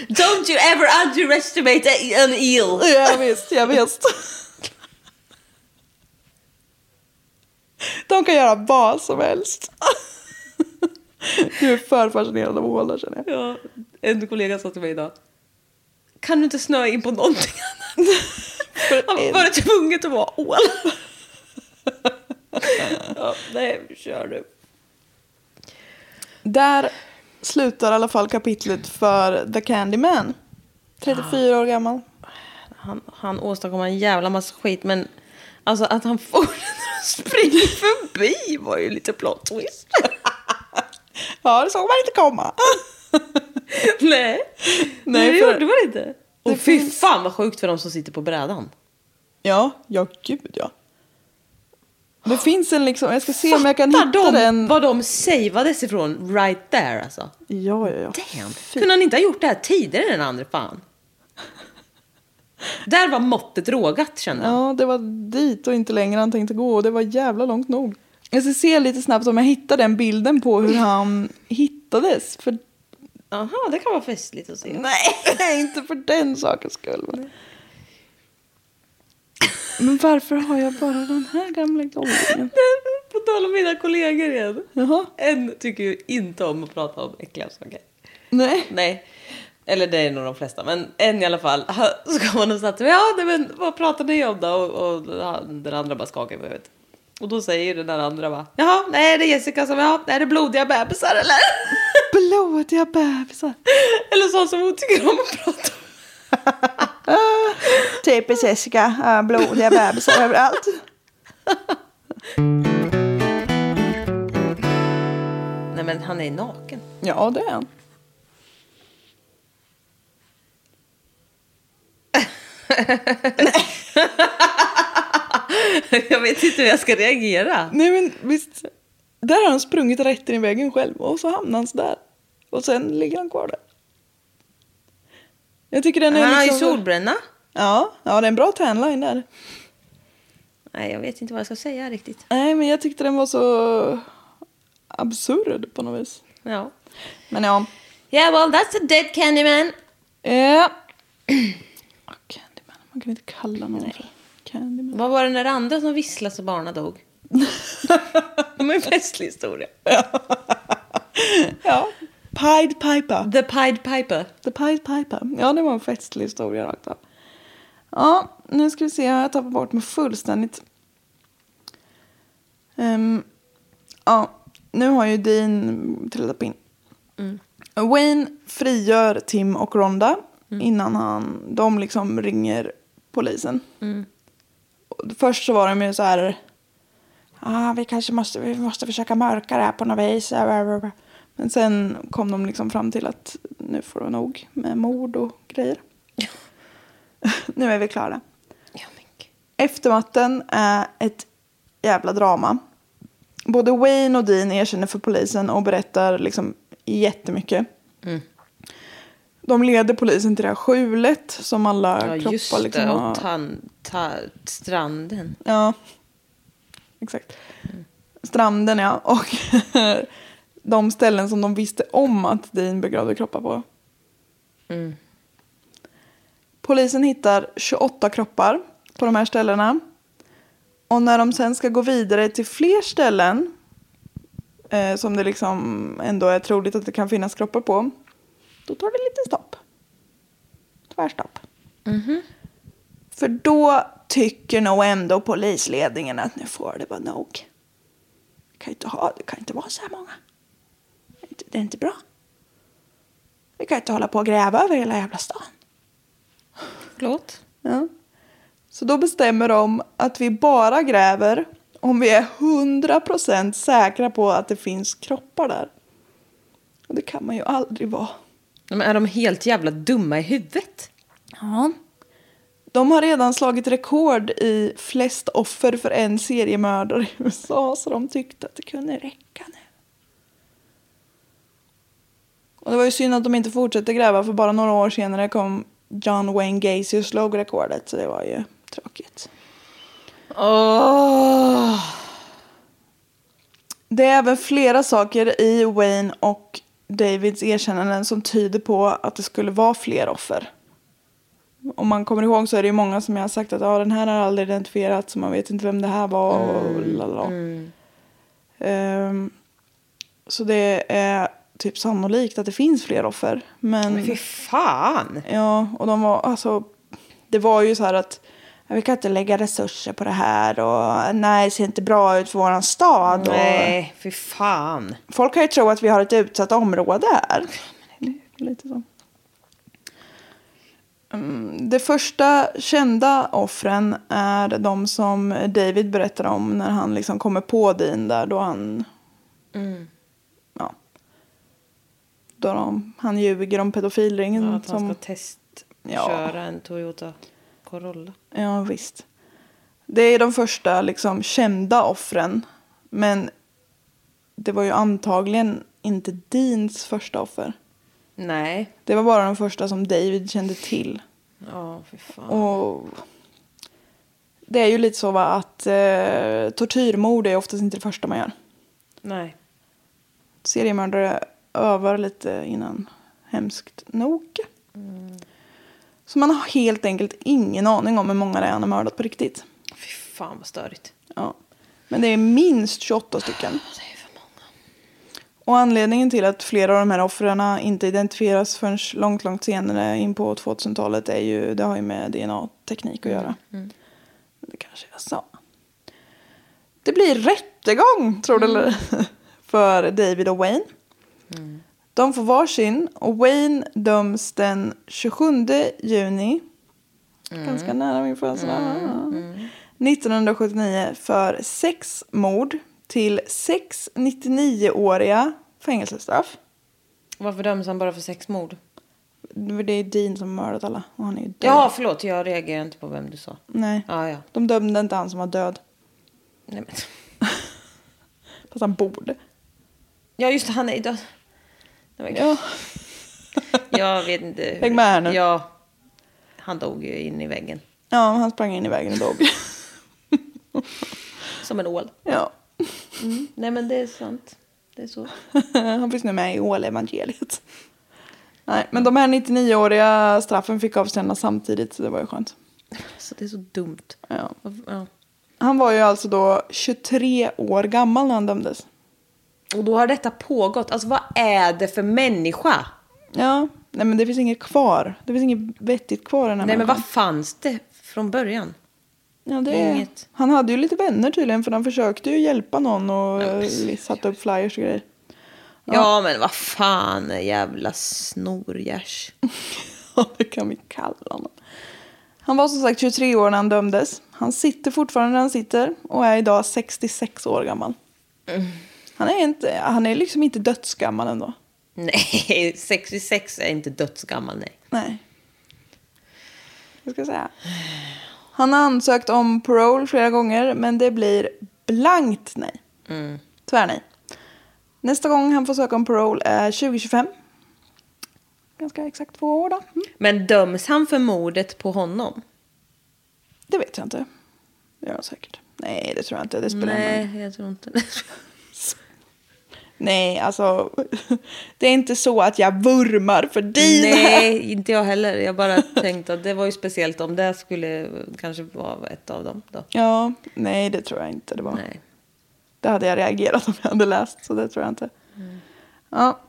[SPEAKER 2] Don't you ever underestimate a- an eel.
[SPEAKER 1] Ja, visst, jag visst. De kan göra vad som helst. Du är för fascinerad av ålar känner jag.
[SPEAKER 2] Ja, en kollega sa till mig idag. Kan du inte snöa in på någonting annat? Han var tvunget att vara ål. ja, nej, kör du.
[SPEAKER 1] Där slutar i alla fall kapitlet för The Candyman. 34 år gammal.
[SPEAKER 2] han, han åstadkom en jävla massa skit men alltså att han [LAUGHS] fortsätter att springa förbi var ju lite plot twist.
[SPEAKER 1] Ja, det såg man inte komma. [LAUGHS]
[SPEAKER 2] Nej,
[SPEAKER 1] Nej,
[SPEAKER 2] Nej det
[SPEAKER 1] för-
[SPEAKER 2] gjorde man inte.
[SPEAKER 1] det
[SPEAKER 2] Och fy
[SPEAKER 1] finns-
[SPEAKER 2] fan vad sjukt för de som sitter på brädan.
[SPEAKER 1] Ja, ja gud ja. Det finns en liksom, jag ska se om jag kan
[SPEAKER 2] Fattar
[SPEAKER 1] hitta
[SPEAKER 2] de
[SPEAKER 1] den.
[SPEAKER 2] vad de savades ifrån right there alltså.
[SPEAKER 1] Ja, ja, ja.
[SPEAKER 2] Damn. Kunde han inte ha gjort det här tidigare den andra fan? Där var måttet rågat kände han.
[SPEAKER 1] Ja, det var dit och inte längre han tänkte gå och det var jävla långt nog. Jag ska se lite snabbt om jag hittar den bilden på hur han hittades. För
[SPEAKER 2] Jaha, det kan vara festligt att
[SPEAKER 1] Mm.
[SPEAKER 2] se.
[SPEAKER 1] Nej, [LAUGHS] inte för den sakens skull. va? Men varför har jag bara den här gamla golvingen?
[SPEAKER 2] På tal om mina kollegor igen.
[SPEAKER 1] Jaha.
[SPEAKER 2] En tycker ju inte om att prata om äckliga saker.
[SPEAKER 1] Nej.
[SPEAKER 2] Nej. Eller det är nog de flesta, men en i alla fall. Så kom han och satt sig, ja nej, men vad pratar ni om då? Och, och den andra bara skakar på huvudet. Och då säger ju den där andra bara, jaha, nej det är Jessica som, ja, är det blodiga bebisar eller? [LAUGHS]
[SPEAKER 1] Blodiga bebisar.
[SPEAKER 2] Eller sånt som hon tycker om att prata om.
[SPEAKER 1] Typiskt Jessica, äh, blodiga bebisar överallt.
[SPEAKER 2] Nej men han är naken.
[SPEAKER 1] Ja, det är han.
[SPEAKER 2] [LAUGHS] jag vet inte hur jag ska reagera.
[SPEAKER 1] Nej, men visst. Där har han sprungit rätt in i väggen själv och så hamnar han så där. Och sen ligger han kvar där. Jag tycker den är
[SPEAKER 2] han har ju
[SPEAKER 1] liksom-
[SPEAKER 2] solbränna.
[SPEAKER 1] Ja, ja, det är en bra tanline där.
[SPEAKER 2] Nej jag vet inte vad jag ska säga riktigt.
[SPEAKER 1] Nej, men jag tyckte den var så absurd på något vis.
[SPEAKER 2] Ja.
[SPEAKER 1] Men ja.
[SPEAKER 2] Yeah well that's a dead Candyman.
[SPEAKER 1] Eh. [CLEARS THROAT] Candyman, man kan inte kalla någon för Candyman.
[SPEAKER 2] Vad var den där andra som visslade så barnen [LAUGHS] dog? De har ju en festlig historia.
[SPEAKER 1] Ja. Pied Piper.
[SPEAKER 2] The Pied Piper.
[SPEAKER 1] The Pied Piper. Ja, det var en festlig historia rakt av. Ja, nu ska vi se. Jag tappar bort mig fullständigt. Ehm, ja, nu har ju Dean trillat på in. Wayne frigör Tim och Rhonda innan han, de liksom ringer polisen. Och Först så var de ju så här... Ah, vi kanske måste, vi måste försöka mörka det här på något vis. Men sen kom de liksom fram till att nu får det nog med mord och grejer. [LAUGHS] nu är vi klara.
[SPEAKER 2] Ja, men gud.
[SPEAKER 1] Eftermatten är ett jävla drama. Både Wayne och Dean erkänner för polisen och berättar liksom jättemycket.
[SPEAKER 2] Mm.
[SPEAKER 1] De leder polisen till det här skjulet som alla
[SPEAKER 2] Ja,
[SPEAKER 1] kroppar
[SPEAKER 2] just det.
[SPEAKER 1] liksom har...
[SPEAKER 2] Och tan, ta, stranden.
[SPEAKER 1] Ja. Exakt. Stranden, ja. Och [LAUGHS] de ställen som de visste om att Dean begravde kroppar på. Polisen hittar 28 kroppar på de här ställena. Och när de sen ska gå vidare till fler ställen eh, som det liksom ändå är troligt att det kan finnas kroppar på, då tar det lite stopp. Tvärstopp. För då tycker nog ändå polisledningen att nu får det vara nog. Det kan inte, ha, det kan inte vara så här många. Det är inte- Det är inte bra. Vi kan inte hålla på och gräva över hela jävla stan.
[SPEAKER 2] Förlåt?
[SPEAKER 1] Ja. Så då bestämmer de att vi bara gräver om vi är 100% säkra på att det finns kroppar där. Och det kan man ju aldrig vara.
[SPEAKER 2] Nej, Men är de helt jävla dumma i huvudet?
[SPEAKER 1] Ja. De har redan slagit rekord i flest offer för en seriemördare i USA så de tyckte att det kunde räcka nu. Och det var ju synd att de inte fortsatte gräva för bara några år senare kom John Wayne Gacy och slog rekordet så det var ju tråkigt.
[SPEAKER 2] Åh!
[SPEAKER 1] Det är även flera saker i Wayne och Davids erkännanden som tyder på att det skulle vara fler offer. Om man kommer ihåg så är det ju många som jag har sagt att ah, den här har aldrig identifierats så man vet inte vem det här var och
[SPEAKER 2] Mm,
[SPEAKER 1] lalala. Ehm, så det är typ sannolikt att det finns fler offer. Men,
[SPEAKER 2] Men fy fan!
[SPEAKER 1] ja, och de var alltså, det var ju så här att "Ja, vi kan inte lägga resurser på det här och nej, det ser inte bra ut för våran stad. och-
[SPEAKER 2] Nej, fy fan.
[SPEAKER 1] Folk kan ju tro att vi har ett utsatt område här. Lite så. Mm, Det första kända offren är de som David berättar om när han liksom kommer på Dean där då han... Ja. Då de, han ljuger om pedofilringen.
[SPEAKER 2] Att han
[SPEAKER 1] som,
[SPEAKER 2] ska testköra
[SPEAKER 1] Ja.
[SPEAKER 2] en Toyota Corolla.
[SPEAKER 1] Ja, visst. Det är de första liksom, kända offren. Men det var ju antagligen inte Deans första offer.
[SPEAKER 2] Nej.
[SPEAKER 1] Det var bara de första som David kände till.
[SPEAKER 2] Ja, fy fan.
[SPEAKER 1] Och det är ju lite så va, att eh, tortyrmord är oftast inte det första man gör.
[SPEAKER 2] Nej.
[SPEAKER 1] seriemördare övar lite innan, hemskt nog. Så man har helt enkelt ingen aning om hur många det är han har mördat på riktigt.
[SPEAKER 2] Fy fan vad störigt.
[SPEAKER 1] Ja. Men det är minst 28 stycken.
[SPEAKER 2] Det är för många.
[SPEAKER 1] Och anledningen till att flera av de här offren inte identifieras förrän långt, långt senare in på 2000-talet är ju, det har ju med DNA-teknik att göra. Men Det kanske jag sa. Det blir rättegång, tror du eller [LAUGHS] ej, för David och Wayne. De får varsin och Wayne döms den 27 juni. Ganska nära min födelsedag. 1979 för sex mord till sex 99-åriga fängelsestraff.
[SPEAKER 2] Varför döms han bara för sex mord?
[SPEAKER 1] Det är Dean som har mördat alla och han är ju död.
[SPEAKER 2] Ja, förlåt. Jag reagerar inte på vem du sa.
[SPEAKER 1] Nej.
[SPEAKER 2] Ja, ja.
[SPEAKER 1] De dömde inte han som var död.
[SPEAKER 2] Nej, men.
[SPEAKER 1] Fast han borde.
[SPEAKER 2] Ja, just det. Han är ju död. Nej, men-
[SPEAKER 1] Ja.
[SPEAKER 2] [LAUGHS] Jag vet inte. hur-
[SPEAKER 1] Häng med här nu.
[SPEAKER 2] Ja. Han dog ju in i väggen.
[SPEAKER 1] Ja, men han sprang in i vägen och
[SPEAKER 2] [LAUGHS]
[SPEAKER 1] dog.
[SPEAKER 2] Som en ål.
[SPEAKER 1] ja. [LAUGHS]
[SPEAKER 2] Nej, men det är sant. Det är så.
[SPEAKER 1] Han finns nu med i Ål-evangeliet. Nej, men de här 99-åriga straffen fick avtjänas samtidigt, så det var ju skönt.
[SPEAKER 2] Så det är så dumt.
[SPEAKER 1] Ja.
[SPEAKER 2] Varför- Ja.
[SPEAKER 1] Han var ju alltså då 23 år gammal när han dömdes.
[SPEAKER 2] Och då har detta pågått. Alltså vad är det för människa?
[SPEAKER 1] Ja, nej men det finns inget kvar. Det finns inget vettigt kvar i den här
[SPEAKER 2] Nej men
[SPEAKER 1] människan.
[SPEAKER 2] vad fanns det från början?
[SPEAKER 1] Ja, det är...
[SPEAKER 2] Inget.
[SPEAKER 1] Han hade ju lite vänner tydligen för han försökte ju hjälpa någon och eh, satte upp flyers och
[SPEAKER 2] [LAUGHS]
[SPEAKER 1] grejer.
[SPEAKER 2] Ja, men vad fan jävla snorgärs.
[SPEAKER 1] Ja, det kan vi kalla honom. Han var som sagt 23 år när han dömdes. Han sitter fortfarande där han sitter och är idag 66 år gammal.
[SPEAKER 2] Mm.
[SPEAKER 1] Han, är inte, han är liksom inte dödsgammal ändå.
[SPEAKER 2] Nej, [LAUGHS] 66 är inte dödsgammal nej.
[SPEAKER 1] Nej. Jag ska säga. Han har ansökt om parole flera gånger, men det blir blankt nej.
[SPEAKER 2] Mm.
[SPEAKER 1] Tvär nej. Nästa gång han får söka om parole är 2025. Ganska exakt två år då. Mm.
[SPEAKER 2] Men döms han för mordet på honom?
[SPEAKER 1] Det vet jag inte. Det gör han säkert. Nej, det tror jag inte. Det spelar ingen roll.
[SPEAKER 2] Nej, jag tror inte det.
[SPEAKER 1] Nej, alltså. [LAUGHS] Det är inte så att jag vurmar för Dina.
[SPEAKER 2] [LAUGHS] Nej, inte jag heller. Jag bara tänkte att det var ju speciellt om det skulle kanske vara ett av dem då.
[SPEAKER 1] [LAUGHS] Ja, nej det tror jag inte det var.
[SPEAKER 2] Nej.
[SPEAKER 1] Det hade jag reagerat om jag hade läst, så det tror jag inte. Ja.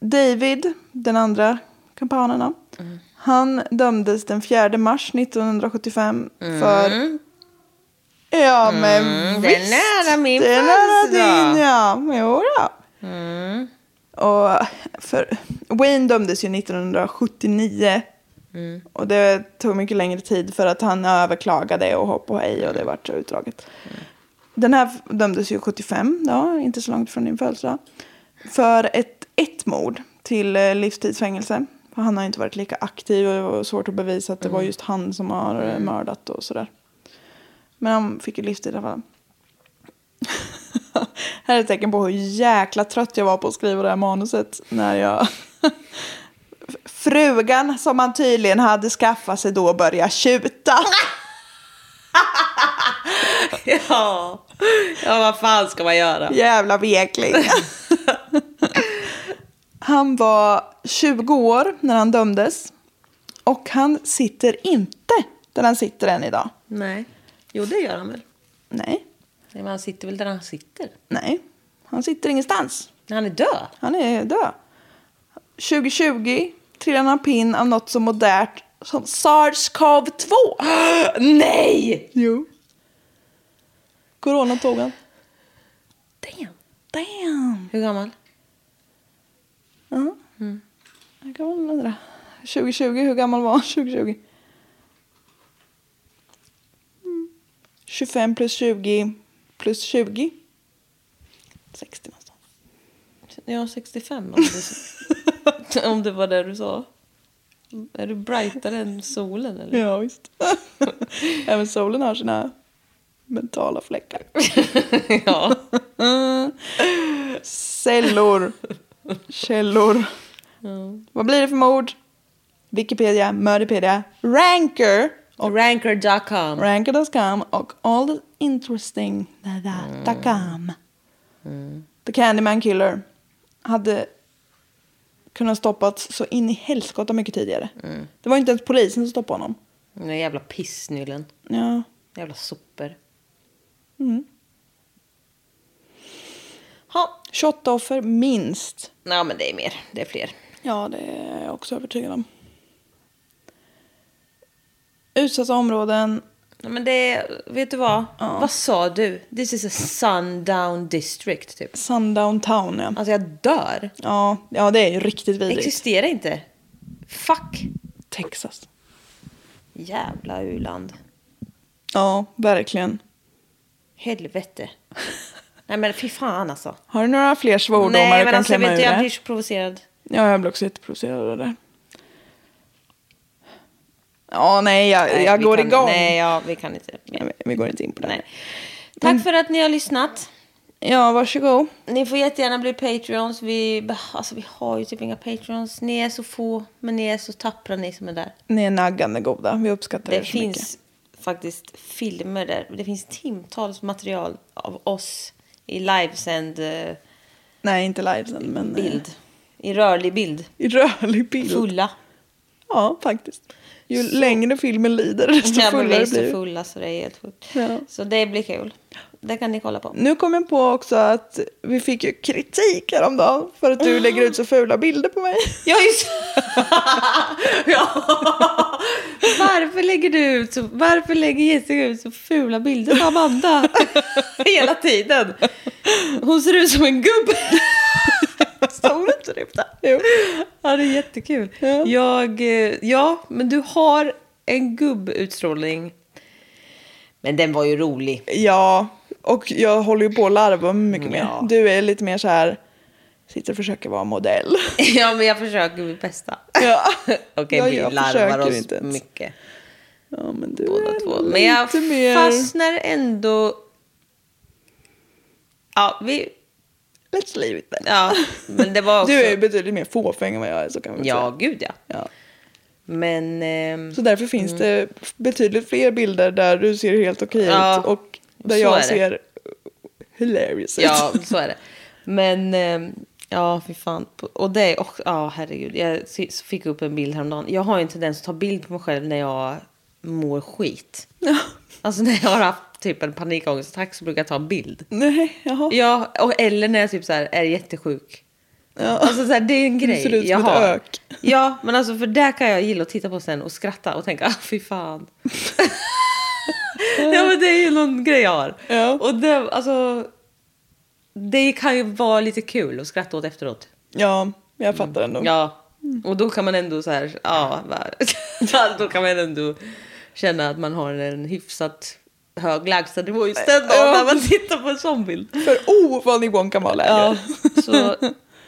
[SPEAKER 1] David, den andra kampanen, då, han dömdes den 4 mars 1975 för... Ja, men
[SPEAKER 2] det är
[SPEAKER 1] visst!
[SPEAKER 2] nära min
[SPEAKER 1] Det är nära
[SPEAKER 2] födelsedag.
[SPEAKER 1] din, ja. Jo, då. Och för Wayne dömdes ju 1979. Och det tog mycket längre tid för att han överklagade och hopp och hej och det vart så utdraget. Den här dömdes ju 75, då, inte så långt från din födelsedag. För ett, ett mord till eh, livstidsfängelse. För han har inte varit lika aktiv och det var svårt att bevisa att det var just han som har eh, mördat och sådär. Men han fick ju livstid i alla fall. här är ett tecken på hur jäkla trött jag var på att skriva det här manuset. När jag... Frugan som han tydligen hade skaffat sig då började tjuta.
[SPEAKER 2] [LAUGHS] Ja. ja, vad fan ska man göra?
[SPEAKER 1] Jävla vekling. han var 20 år när han dömdes. Och han sitter inte där han sitter än idag.
[SPEAKER 2] Nej. Jo, det gör han väl.
[SPEAKER 1] Nej,
[SPEAKER 2] Nej, men han sitter väl där han sitter.
[SPEAKER 1] nej. Han sitter ingenstans.
[SPEAKER 2] Han är död.
[SPEAKER 1] Han är död. 2020 trillade han pinn av något så modernt som SARS-CoV-2. [GASPS]
[SPEAKER 2] Nej!
[SPEAKER 1] Jo. Corona tog han.
[SPEAKER 2] Damn.
[SPEAKER 1] Damn.
[SPEAKER 2] Hur gammal?
[SPEAKER 1] Jag kan väl undra. 2020, hur gammal var han 2020? Mm. 25 plus 20 plus 20. 60 någonstans.
[SPEAKER 2] Ja, 65 om det, [LAUGHS] om det var det du sa. Är du brightare än solen
[SPEAKER 1] [LAUGHS]
[SPEAKER 2] eller?
[SPEAKER 1] Ja, visst. Även solen har sina mentala fläckar.
[SPEAKER 2] [LAUGHS] ja.
[SPEAKER 1] Cellor. Källor. Vad blir det för mord? Wikipedia, Murderpedia, Ranker och
[SPEAKER 2] Ranker.com.
[SPEAKER 1] Ranker.com och all the interesting data.com.
[SPEAKER 2] Mm.
[SPEAKER 1] The Candyman Killer hade kunnat stoppats så in i helskotta mycket tidigare.
[SPEAKER 2] Mm.
[SPEAKER 1] Det var inte ens polisen som stoppade honom.
[SPEAKER 2] Den där jävla pissnyllen.
[SPEAKER 1] Ja.
[SPEAKER 2] Jävla sopor.
[SPEAKER 1] Ha, 28 offer minst.
[SPEAKER 2] Nej, men det är mer. Det är fler.
[SPEAKER 1] Ja, det är jag också övertygad om. Utsatta områden.
[SPEAKER 2] Nej, men det är, vet du vad? Vad sa du? This is a sundown district, typ.
[SPEAKER 1] Sundown Town, ja.
[SPEAKER 2] Alltså, jag dör.
[SPEAKER 1] Ja, ja det är ju riktigt
[SPEAKER 2] Det
[SPEAKER 1] vidrigt.
[SPEAKER 2] existerar inte. Fuck.
[SPEAKER 1] Texas.
[SPEAKER 2] Jävla u-land.
[SPEAKER 1] Ja, verkligen. [LAUGHS]
[SPEAKER 2] Helvete. Nej, men fy fan alltså.
[SPEAKER 1] Har du några fler svordomar
[SPEAKER 2] Nej,
[SPEAKER 1] du
[SPEAKER 2] men
[SPEAKER 1] kan
[SPEAKER 2] alltså,
[SPEAKER 1] klämma
[SPEAKER 2] vet
[SPEAKER 1] ur
[SPEAKER 2] du, jag
[SPEAKER 1] det?
[SPEAKER 2] blir så provocerad.
[SPEAKER 1] Ja, jag blir också jätteprovocerad av det där. Ja, nej, jag,
[SPEAKER 2] Nej,
[SPEAKER 1] jag
[SPEAKER 2] vi
[SPEAKER 1] går
[SPEAKER 2] kan,
[SPEAKER 1] igång.
[SPEAKER 2] Nej, ja, vi kan inte.
[SPEAKER 1] Nej, vi går inte in på det.
[SPEAKER 2] Nej. Tack för att ni har lyssnat.
[SPEAKER 1] Ja, varsågod.
[SPEAKER 2] Ni får jättegärna bli Patreons. Vi, beh- alltså, vi har ju typ inga Patreons. Ni är så få, men ni är så tappra ni som är där.
[SPEAKER 1] Ni är naggande goda. Vi uppskattar
[SPEAKER 2] Det
[SPEAKER 1] er så
[SPEAKER 2] finns
[SPEAKER 1] mycket.
[SPEAKER 2] faktiskt filmer där. Det finns timtals material av oss i livesänd eh,
[SPEAKER 1] Nej, inte livesen, men... eh,
[SPEAKER 2] bild. I rörlig bild.
[SPEAKER 1] I rörlig bild.
[SPEAKER 2] Fulla.
[SPEAKER 1] Ja, faktiskt. Ju längre filmen lider, [LAUGHS] desto
[SPEAKER 2] Ja, men
[SPEAKER 1] fullare
[SPEAKER 2] vi är så
[SPEAKER 1] blir det.
[SPEAKER 2] fulla så det är helt sjukt.
[SPEAKER 1] Ja.
[SPEAKER 2] Så det blir kul. Det kan ni kolla på.
[SPEAKER 1] Nu kom jag på också att vi fick ju kritik häromdagen för att
[SPEAKER 2] Ah.
[SPEAKER 1] du lägger ut så fula bilder på mig.
[SPEAKER 2] Ja,
[SPEAKER 1] [LAUGHS]
[SPEAKER 2] just ja. Varför lägger du ut så, varför lägger Jessica ut så fula bilder på
[SPEAKER 1] [LAUGHS]
[SPEAKER 2] Amanda? Hela tiden. Hon ser ut som en [LAUGHS] gubbe. Stod inte det på det?
[SPEAKER 1] Jo.
[SPEAKER 2] Ja, det är jättekul.
[SPEAKER 1] Ja.
[SPEAKER 2] [LAUGHS] Jag, eh, ja, men du har en gubbutstrålning. Men den var ju rolig.
[SPEAKER 1] Ja, och jag håller ju på att larva mig mycket
[SPEAKER 2] Ja.
[SPEAKER 1] mer. Du är lite mer så här, sitter och försöker vara
[SPEAKER 2] [LAUGHS]
[SPEAKER 1] modell.
[SPEAKER 2] Ja, men jag försöker mitt bästa.
[SPEAKER 1] Ja.
[SPEAKER 2] [LAUGHS] Okej,
[SPEAKER 1] Ja,
[SPEAKER 2] vi
[SPEAKER 1] jag
[SPEAKER 2] larvar
[SPEAKER 1] försöker
[SPEAKER 2] oss
[SPEAKER 1] inte ens.
[SPEAKER 2] mycket.
[SPEAKER 1] Ja, men du
[SPEAKER 2] båda
[SPEAKER 1] är
[SPEAKER 2] två.
[SPEAKER 1] lite
[SPEAKER 2] Men jag
[SPEAKER 1] mer...
[SPEAKER 2] fastnar ändå... Ja, vi...
[SPEAKER 1] Let's leave it there.
[SPEAKER 2] Ja, men det var också...
[SPEAKER 1] Du är ju betydligt mer fåfäng än vad jag är, så kan man väl
[SPEAKER 2] Ja,
[SPEAKER 1] säga.
[SPEAKER 2] gud ja.
[SPEAKER 1] Alltså. Ja.
[SPEAKER 2] Men... ehm,
[SPEAKER 1] Så därför finns det betydligt fler bilder där du ser helt okej
[SPEAKER 2] Ja,
[SPEAKER 1] ut och där
[SPEAKER 2] så är
[SPEAKER 1] jag
[SPEAKER 2] det.
[SPEAKER 1] ser hilarious
[SPEAKER 2] ja,
[SPEAKER 1] ut.
[SPEAKER 2] [LAUGHS] så är det. Men... ehm, ja, fy fan. Och det är också... Ja, herregud. Jag si- fick upp en bild häromdagen. Jag har ju en tendens att ta bild på mig själv när jag mår skit. Alltså när jag har haft typ en panikångestattack så brukar jag ta en bild.
[SPEAKER 1] [LAUGHS] Nej, jaha.
[SPEAKER 2] Ja, och, eller när jag typ så här är jättesjuk. Alltså så här, det är
[SPEAKER 1] [LAUGHS]
[SPEAKER 2] en grej
[SPEAKER 1] ser ut som
[SPEAKER 2] jag
[SPEAKER 1] ett
[SPEAKER 2] har.
[SPEAKER 1] ök.
[SPEAKER 2] [LAUGHS] Ja, men alltså för där kan jag gilla att titta på sen och skratta och tänka, [LAUGHS] ah, fy fan. ja, men det är ju någon grej jag har.
[SPEAKER 1] Ja.
[SPEAKER 2] Och det, alltså, det kan ju vara lite kul att skratta åt efteråt.
[SPEAKER 1] Ja, jag fattar ändå.
[SPEAKER 2] Mm. Ja, och då kan man ändå så här, ja, va- [LAUGHS] då kan man ändå känna att man har en hyfsat hög lägstanivå just den dagen när man tittar på en sån bild.
[SPEAKER 1] För oh, vad nivån kan vara lägre.
[SPEAKER 2] Ja, [LAUGHS] så,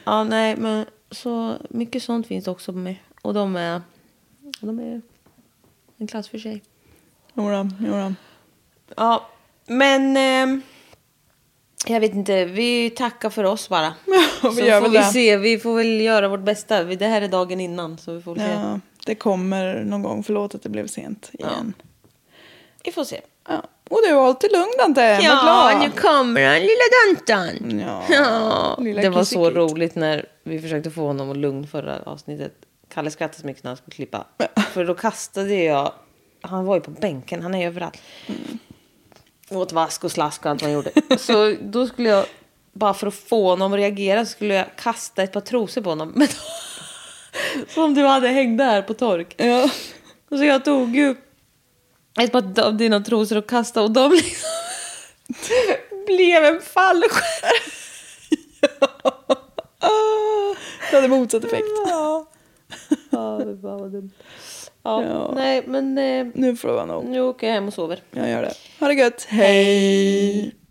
[SPEAKER 2] ja, nej, men så mycket sånt finns det också på mig. Och de är, de är en klass för sig.
[SPEAKER 1] [LAUGHS] Jodå, jodå.
[SPEAKER 2] Ja, men ehm, jag vet inte, vi tackar för oss [LAUGHS] bara.
[SPEAKER 1] Ja, vi
[SPEAKER 2] så
[SPEAKER 1] gör
[SPEAKER 2] får
[SPEAKER 1] väl
[SPEAKER 2] vi
[SPEAKER 1] det.
[SPEAKER 2] se, vi får väl göra vårt bästa. Det här är dagen innan så vi får se.
[SPEAKER 1] Ja, det kommer någon gång. Förlåt att det blev sent igen.
[SPEAKER 2] Vi får se.
[SPEAKER 1] Ja. Och du, håll till lugn Dante. Var
[SPEAKER 2] Ja,
[SPEAKER 1] glad.
[SPEAKER 2] nu kommer han lilla Dantan.
[SPEAKER 1] Ja, lilla
[SPEAKER 2] det var så
[SPEAKER 1] kissekit.
[SPEAKER 2] roligt när vi försökte få honom att lugn förra avsnittet. Kalle skrattade så mycket när han skulle klippa. För då kastade jag, han var ju på bänken, han är ju överallt. Åt vask och slask och allt vad han gjorde. Så då skulle jag, bara för att få honom att reagera, så skulle jag kasta ett par trosor på honom. Men [LAUGHS] som du hade hängde här på tork.
[SPEAKER 1] Ja.
[SPEAKER 2] Och så jag tog ju ett par av dina trosor och kastade och de [LAUGHS] liksom blev en fallskärm.
[SPEAKER 1] Det Ah. hade motsatt effekt.
[SPEAKER 2] Ja. Ja, det var vad dumt. Ja,
[SPEAKER 1] Ja.
[SPEAKER 2] nej men eh,
[SPEAKER 1] Nu får det vara nog.
[SPEAKER 2] nu åker jag hem och sover.
[SPEAKER 1] Jag gör det. Ha det gött. Hej.